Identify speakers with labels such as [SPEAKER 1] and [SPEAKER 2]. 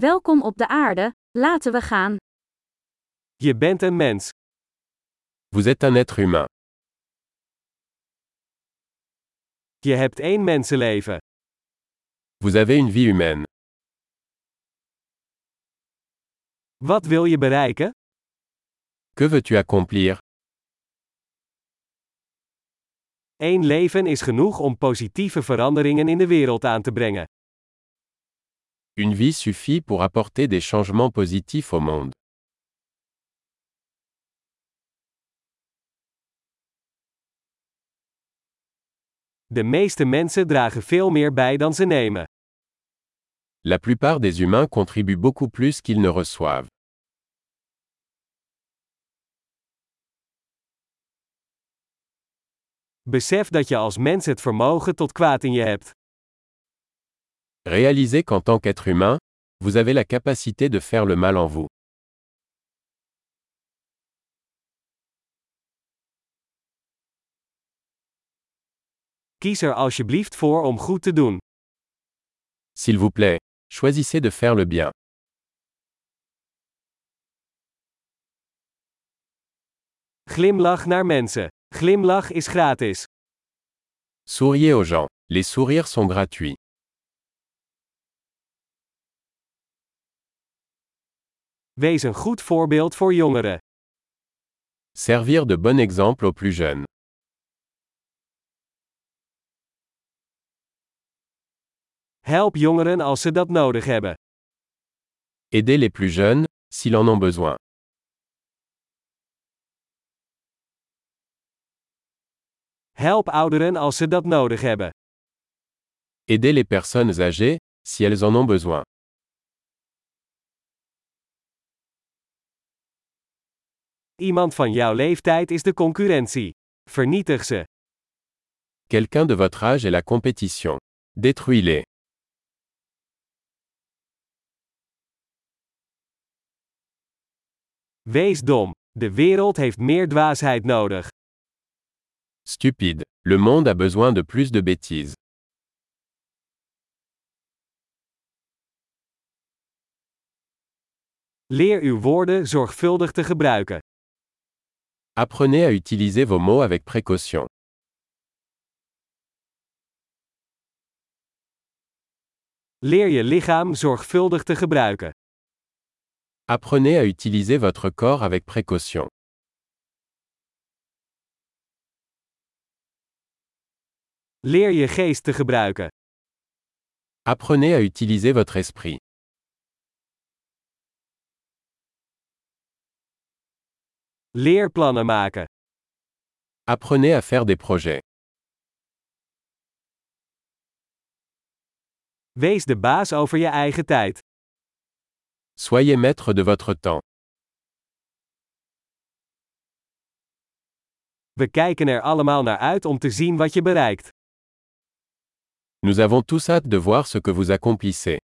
[SPEAKER 1] Welkom op de aarde, laten we gaan.
[SPEAKER 2] Je bent een mens.
[SPEAKER 3] Vous êtes un être humain.
[SPEAKER 2] Je hebt één mensenleven.
[SPEAKER 3] Vous avez une vie humaine.
[SPEAKER 2] Wat wil je bereiken?
[SPEAKER 3] Que veux-tu accomplir
[SPEAKER 2] Eén leven is genoeg om positieve veranderingen in de wereld aan te brengen.
[SPEAKER 3] Une vie suffit pour apporter des changements positifs au monde.
[SPEAKER 2] De meeste mensen dragen veel meer bij dan ze nemen.
[SPEAKER 3] La plupart des humains contribuent beaucoup plus qu'ils ne reçoivent.
[SPEAKER 2] Besef dat je als mens het vermogen tot kwaad in je hebt.
[SPEAKER 3] Réalisez qu'en tant qu'être humain, vous avez la capacité de faire le mal en vous.
[SPEAKER 2] Kies er alsjeblieft voor om goed te doen.
[SPEAKER 3] S'il vous plaît, choisissez de faire le bien.
[SPEAKER 2] Glimlach naar mensen. Glimlach is gratis.
[SPEAKER 3] Souriez aux gens. Les sourires sont gratuits.
[SPEAKER 2] Wees een goed voorbeeld voor jongeren.
[SPEAKER 3] Servir de bon exemple aux plus jeunes.
[SPEAKER 2] Help jongeren als ze dat nodig hebben.
[SPEAKER 3] Aidez les plus jeunes, s'ils en ont besoin.
[SPEAKER 2] Help ouderen als ze dat nodig hebben.
[SPEAKER 3] Aidez les personnes âgées, si elles en ont besoin.
[SPEAKER 2] Iemand van jouw leeftijd is de concurrentie. Vernietig ze.
[SPEAKER 3] Quelqu'un de votre âge est la compétition. Détruis-les.
[SPEAKER 2] Wees dom. De wereld heeft meer dwaasheid nodig.
[SPEAKER 3] Stupide. Le monde a besoin de plus de bêtises.
[SPEAKER 2] Leer uw woorden zorgvuldig te gebruiken.
[SPEAKER 3] Apprenez à utiliser vos mots avec précaution.
[SPEAKER 2] Leer je lichaam zorgvuldig te gebruiken.
[SPEAKER 3] Apprenez à utiliser votre corps avec précaution.
[SPEAKER 2] Leer je geest te gebruiken.
[SPEAKER 3] Apprenez à utiliser votre esprit.
[SPEAKER 2] Leer plannen maken.
[SPEAKER 3] Apprenez à faire des projets.
[SPEAKER 2] Wees de baas over je eigen tijd.
[SPEAKER 3] Soyez maître de votre temps.
[SPEAKER 2] We kijken er allemaal naar uit om te zien wat je bereikt.
[SPEAKER 3] Nous avons tous hâte de voir ce que vous accomplissez.